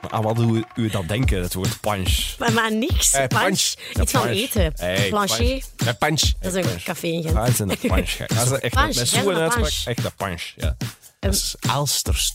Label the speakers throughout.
Speaker 1: Maar aan wat hoe u dat denken, het woord punch.
Speaker 2: Maar, maar niks.
Speaker 3: Eh,
Speaker 2: punch.
Speaker 3: punch.
Speaker 1: Ja,
Speaker 2: Iets van
Speaker 1: punch.
Speaker 2: eten.
Speaker 1: Hey,
Speaker 2: Plancher.
Speaker 3: Met punch.
Speaker 2: Dat is een café in Gent.
Speaker 1: Uit en Ah, een punch. gek. Dat is echt
Speaker 2: Punch,
Speaker 1: met
Speaker 2: helemaal
Speaker 1: zo'n uitspraak.
Speaker 2: punch.
Speaker 1: Echt een punch, ja.
Speaker 3: Dat is Aalsters.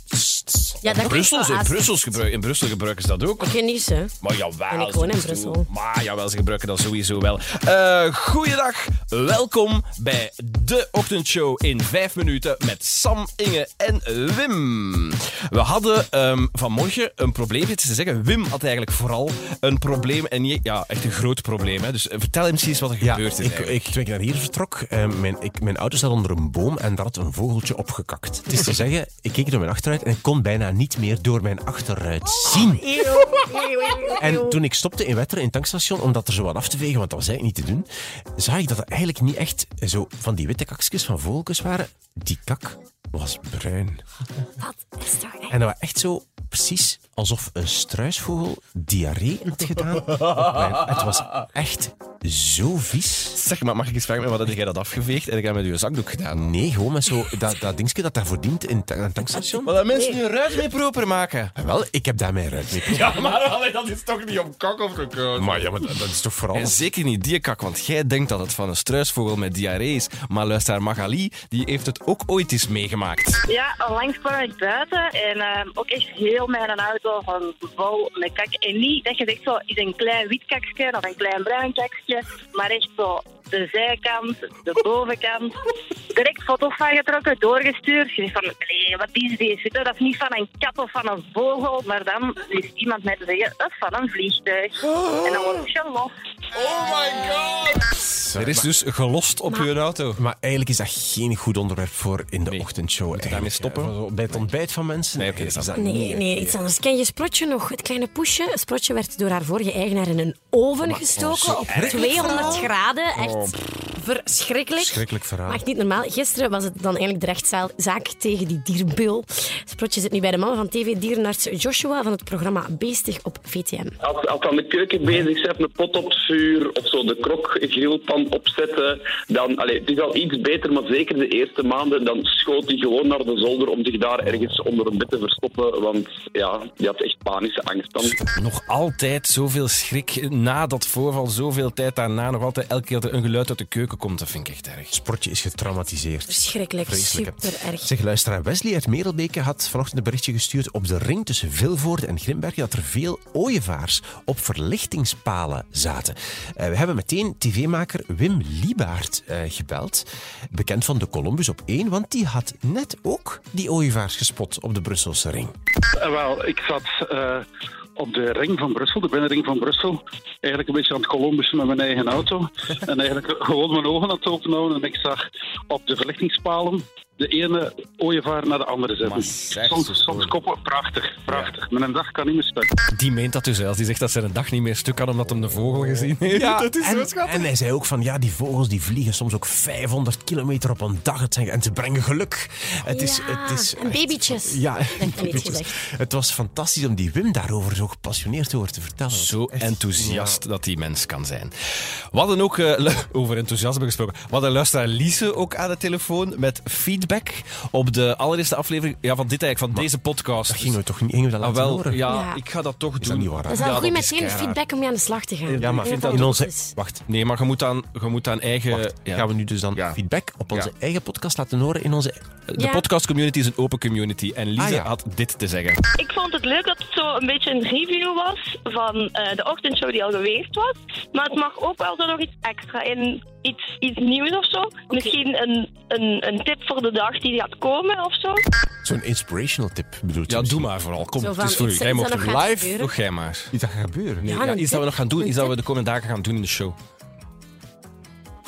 Speaker 2: Ja,
Speaker 1: Brussel,
Speaker 2: dat klinkt wel
Speaker 1: in,
Speaker 2: aardig.
Speaker 1: Brussel gebruik, in Brussel gebruiken ze dat ook.
Speaker 2: Ik weet niet, hè.
Speaker 1: Maar jawel.
Speaker 2: En ik
Speaker 1: ze
Speaker 2: woon in
Speaker 1: doen ze
Speaker 2: Brussel.
Speaker 1: toe. Maar jawel, ze gebruiken dat sowieso wel. Eh goeiedag, welkom bij de ochtendshow in 5 minuten met Sam, Inge en Wim. We hadden ehm, vanmorgen een probleem. Het is te zeggen, Wim had eigenlijk vooral een probleem. En niet, ja, echt een groot probleem. Hè. Dus eh, vertel hem precies wat er
Speaker 3: Ja,
Speaker 1: gebeurd is.
Speaker 3: ik,
Speaker 1: eigenlijk.
Speaker 3: ik, toen ik naar hier vertrok, eh, mijn, ik, mijn auto zat onder een boom en daar had een vogeltje opgekakt. Het is te zeggen, ik keek door mijn achteruit en ik kon bijna niet meer door mijn achteruit zien.
Speaker 2: Eeuw, eeuw, eeuw, eeuw.
Speaker 3: En toen ik stopte in Wetteren in het tankstation om dat er zo wat af te vegen, want dat was eigenlijk niet te doen, zag ik dat het eigenlijk niet echt zo van die witte kakjes van vogeltjes waren. Die kak was bruin.
Speaker 2: Dat is toch echt...
Speaker 3: En dat was echt zo precies alsof een struisvogel diarree had gedaan. op mijn- Het was echt zo vies.
Speaker 1: Zeg maar, mag ik eens vragen, wat had jij dat afgeveegd en heb jij met je zakdoek gedaan?
Speaker 3: Nee, gewoon met zo dat, dat dingetje dat daarvoor dient in het- aan het tankstation. Ah,
Speaker 1: Maar dat mensen nu een ruit mee proper maken.
Speaker 3: Wel, ik heb daar mijn ruit mee.
Speaker 1: Ja, maar allee, dat is toch niet op kak opgekomen?
Speaker 3: Maar ja, maar dat, dat is toch vooral...
Speaker 1: En zeker niet die kak, want jij denkt dat het van een struisvogel met diarree is. Maar luisteraar Magali, die heeft het ook ooit eens meegemaakt.
Speaker 4: Ja, onlangs kwam ik buiten en ehm, ook echt heel mijn auto van vol met kak. En niet dat je zegt zo, is een klein wit kakje of een klein bruin kakje, maar echt zo de zijkant, de bovenkant. Direct foto's van getrokken, doorgestuurd. Je denkt van, nee, wat is dit? Weet je, Dat is niet van een kat of van een vogel, maar dan is iemand mij te zeggen, dat is van een vliegtuig. En dan word je los.
Speaker 1: Er is dus gelost op hun auto.
Speaker 3: Maar eigenlijk is dat geen goed onderwerp voor in de ochtendshow. Moet
Speaker 1: daarmee stoppen?
Speaker 3: Bij het ontbijt van mensen?
Speaker 1: Nee, oké,
Speaker 3: is
Speaker 1: dat-
Speaker 3: dat
Speaker 2: Nee,
Speaker 3: niet-
Speaker 2: nee, iets anders. Ken je Sprotje nog? Het kleine poesje. Sprotje werd door haar vorige eigenaar in een oven gestoken op 200 graden. Echt verschrikkelijk.
Speaker 3: Schrikkelijk verhaal.
Speaker 2: Maar echt niet normaal. Gisteren was het dan eigenlijk de rechtszaak tegen die dierbul. Sprotje zit nu bij de man van tv-dierenarts Joshua van het programma Beestig op VTM.
Speaker 5: Als, als je aan de keuken bezig bent, een pot op het vuur of zo de krok, grillpan opzetten, dan, allee, het is al iets beter, maar zeker de eerste maanden, dan schoot hij gewoon naar de zolder om zich daar ergens onder een bed te verstoppen, want ja, die had echt panische angst dan.
Speaker 1: Nog altijd zoveel schrik na dat voorval, zoveel tijd daarna. Nog altijd elke keer dat er een geluid uit de keuken komt, dat vind ik echt erg.
Speaker 3: Sportje is getraumatiseerd.
Speaker 2: Verschrikkelijk,
Speaker 3: Vreselijk, hè.
Speaker 2: super erg.
Speaker 3: Zeg, luisteraar Wesley uit Merelbeke had vanochtend een berichtje gestuurd op de ring tussen Vilvoorde en Grimbergen dat er veel ooievaars op verlichtingspalen zaten. Eh, we hebben meteen tv-maker Wim Liebaert eh, gebeld, bekend van de Columbus op 1, want die had net ook die ooievaars gespot op de Brusselse ring.
Speaker 6: Eh, wel, ik zat eh, op de ring van Brussel, de binnenring van Brussel. Eigenlijk een beetje aan het Columbussen met mijn eigen auto. en eigenlijk gewoon mijn ogen aan het openhouden. En ik zag op de verlichtingspalen de ene ooievaar naar de andere
Speaker 1: Maar
Speaker 6: zetten.
Speaker 1: zeg, ze
Speaker 6: Soms, soms
Speaker 1: storen.
Speaker 6: koppen, prachtig, prachtig. Mijn dag kan niet meer stuk.
Speaker 1: Die meent dat dus zelfs. Die zegt dat ze een dag niet meer stuk had omdat hem de vogel gezien heeft. dat is
Speaker 3: en,
Speaker 1: zo schattig.
Speaker 3: en hij zei ook van, ja, die vogels die vliegen soms ook 500 kilometer op een dag. Het zijn, en ze brengen geluk. Het is,
Speaker 2: Ja,
Speaker 3: het is
Speaker 2: en
Speaker 3: echt-
Speaker 2: babytjes.
Speaker 3: Ja,
Speaker 2: werd er iets
Speaker 3: babytjes.
Speaker 2: gezegd.
Speaker 3: Het was fantastisch om die Wim daarover zo gepassioneerd te horen te vertellen.
Speaker 1: Zo enthousiast dat die mens kan zijn. We hadden ook, eh, lu- over enthousiasme gesproken, we hadden luisteraar Lise ook aan de telefoon met feedback op de allereerste aflevering ja, van dit eigenlijk, van deze podcast.
Speaker 3: Gingen we toch niet gingen we dat
Speaker 1: ah,
Speaker 3: laten
Speaker 1: wel,
Speaker 3: horen?
Speaker 1: ja,
Speaker 2: Ja.
Speaker 1: ik ga dat toch
Speaker 3: Is dat
Speaker 1: doen.
Speaker 3: niet waar?
Speaker 2: Dat is
Speaker 1: Ja,
Speaker 2: wel goed
Speaker 1: dat
Speaker 2: meteen
Speaker 1: is keihard.
Speaker 2: feedback om mee aan de slag te gaan.
Speaker 3: Ja, maar
Speaker 2: Ik
Speaker 3: vind
Speaker 2: dat
Speaker 3: dat
Speaker 2: goed
Speaker 3: in onze...
Speaker 2: is.
Speaker 3: Wacht,
Speaker 1: Nee, maar je moet aan, je moet aan eigen...
Speaker 3: wacht.
Speaker 1: ja.
Speaker 3: Gaan we nu dus dan
Speaker 1: Ja.
Speaker 3: feedback op onze
Speaker 1: Ja.
Speaker 3: eigen podcast laten horen in onze... eh,
Speaker 1: De
Speaker 2: Ja.
Speaker 1: podcastcommunity is een open community en Lise
Speaker 3: Ah, ja.
Speaker 1: had dit te zeggen.
Speaker 4: Ik vond het leuk dat het zo een beetje een review was van eh, de ochtendshow die al geweest was. Maar het mag ook wel zo nog iets extra in, iets, iets nieuws of zo. Misschien een, een, een tip voor de dag die gaat komen of zo.
Speaker 3: Zo'n inspirational tip bedoelt
Speaker 1: Ja, doe maar vooral. Kom,
Speaker 2: Zo
Speaker 1: het
Speaker 2: van,
Speaker 1: is voor u.
Speaker 2: iets-
Speaker 1: Jij
Speaker 2: iets
Speaker 1: mocht
Speaker 2: dat nog
Speaker 1: hem.
Speaker 2: gaat
Speaker 1: live.
Speaker 2: gebeuren.
Speaker 1: Doe jij maar.
Speaker 3: Iets dat gaat gebeuren.
Speaker 1: Nee,
Speaker 2: Ja,
Speaker 1: ja,
Speaker 2: een
Speaker 1: iets dat we
Speaker 2: tip.
Speaker 1: nog gaan doen,
Speaker 2: Een
Speaker 1: iets dat we
Speaker 2: tip.
Speaker 1: de komende dagen gaan doen in de show.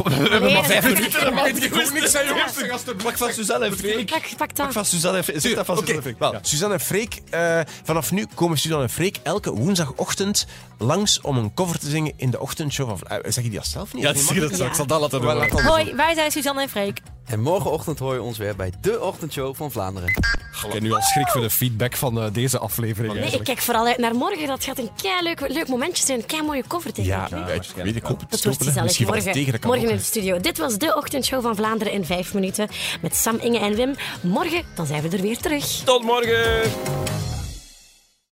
Speaker 2: Nee,
Speaker 1: Maar vijf
Speaker 2: dat-
Speaker 1: minuten, dat mag ik gewoon niks zijn, jongens. Pak van Suzanne en Freek.
Speaker 2: Pak, pak dat.
Speaker 1: Pak van Suzanne en Freek. Zit dat van
Speaker 3: Oké,
Speaker 1: Suzanne en Freek?
Speaker 3: wel, Suzanne en Freek, eh, vanaf nu komen Suzanne en Freek elke woensdagochtend langs om een cover te zingen in de ochtendshow van... Vla- eh, zeg je die als zelf niet?
Speaker 1: Ja,
Speaker 3: Is
Speaker 1: zie
Speaker 3: niet
Speaker 1: je dat zo. Ik zal dat laten doen.
Speaker 3: makkelijk? Wel, laat
Speaker 7: Hoi, wij zijn Suzanne en Freek.
Speaker 8: En morgenochtend hoor je ons weer bij de ochtendshow van Vlaanderen.
Speaker 1: Ik heb nu al schrik voor de feedback van eh, deze aflevering.
Speaker 2: Nee, ik
Speaker 1: eigenlijk.
Speaker 2: kijk vooral uit naar morgen. Dat gaat een kei leuk, leuk momentje zijn. Een kei mooie cover tegen.
Speaker 3: Ja, ja, ik weet ik hoop het.
Speaker 2: Dat wordt
Speaker 3: Hopelijk.
Speaker 2: gezellig
Speaker 3: Misschien valt het tegen,
Speaker 2: morgen,
Speaker 3: dat kan
Speaker 2: morgen in
Speaker 3: ook.
Speaker 2: de studio. Dit was de ochtendshow van Vlaanderen in 5 minuten. Met Sam, Inge en Wim. Morgen dan zijn we er weer terug.
Speaker 1: Tot morgen!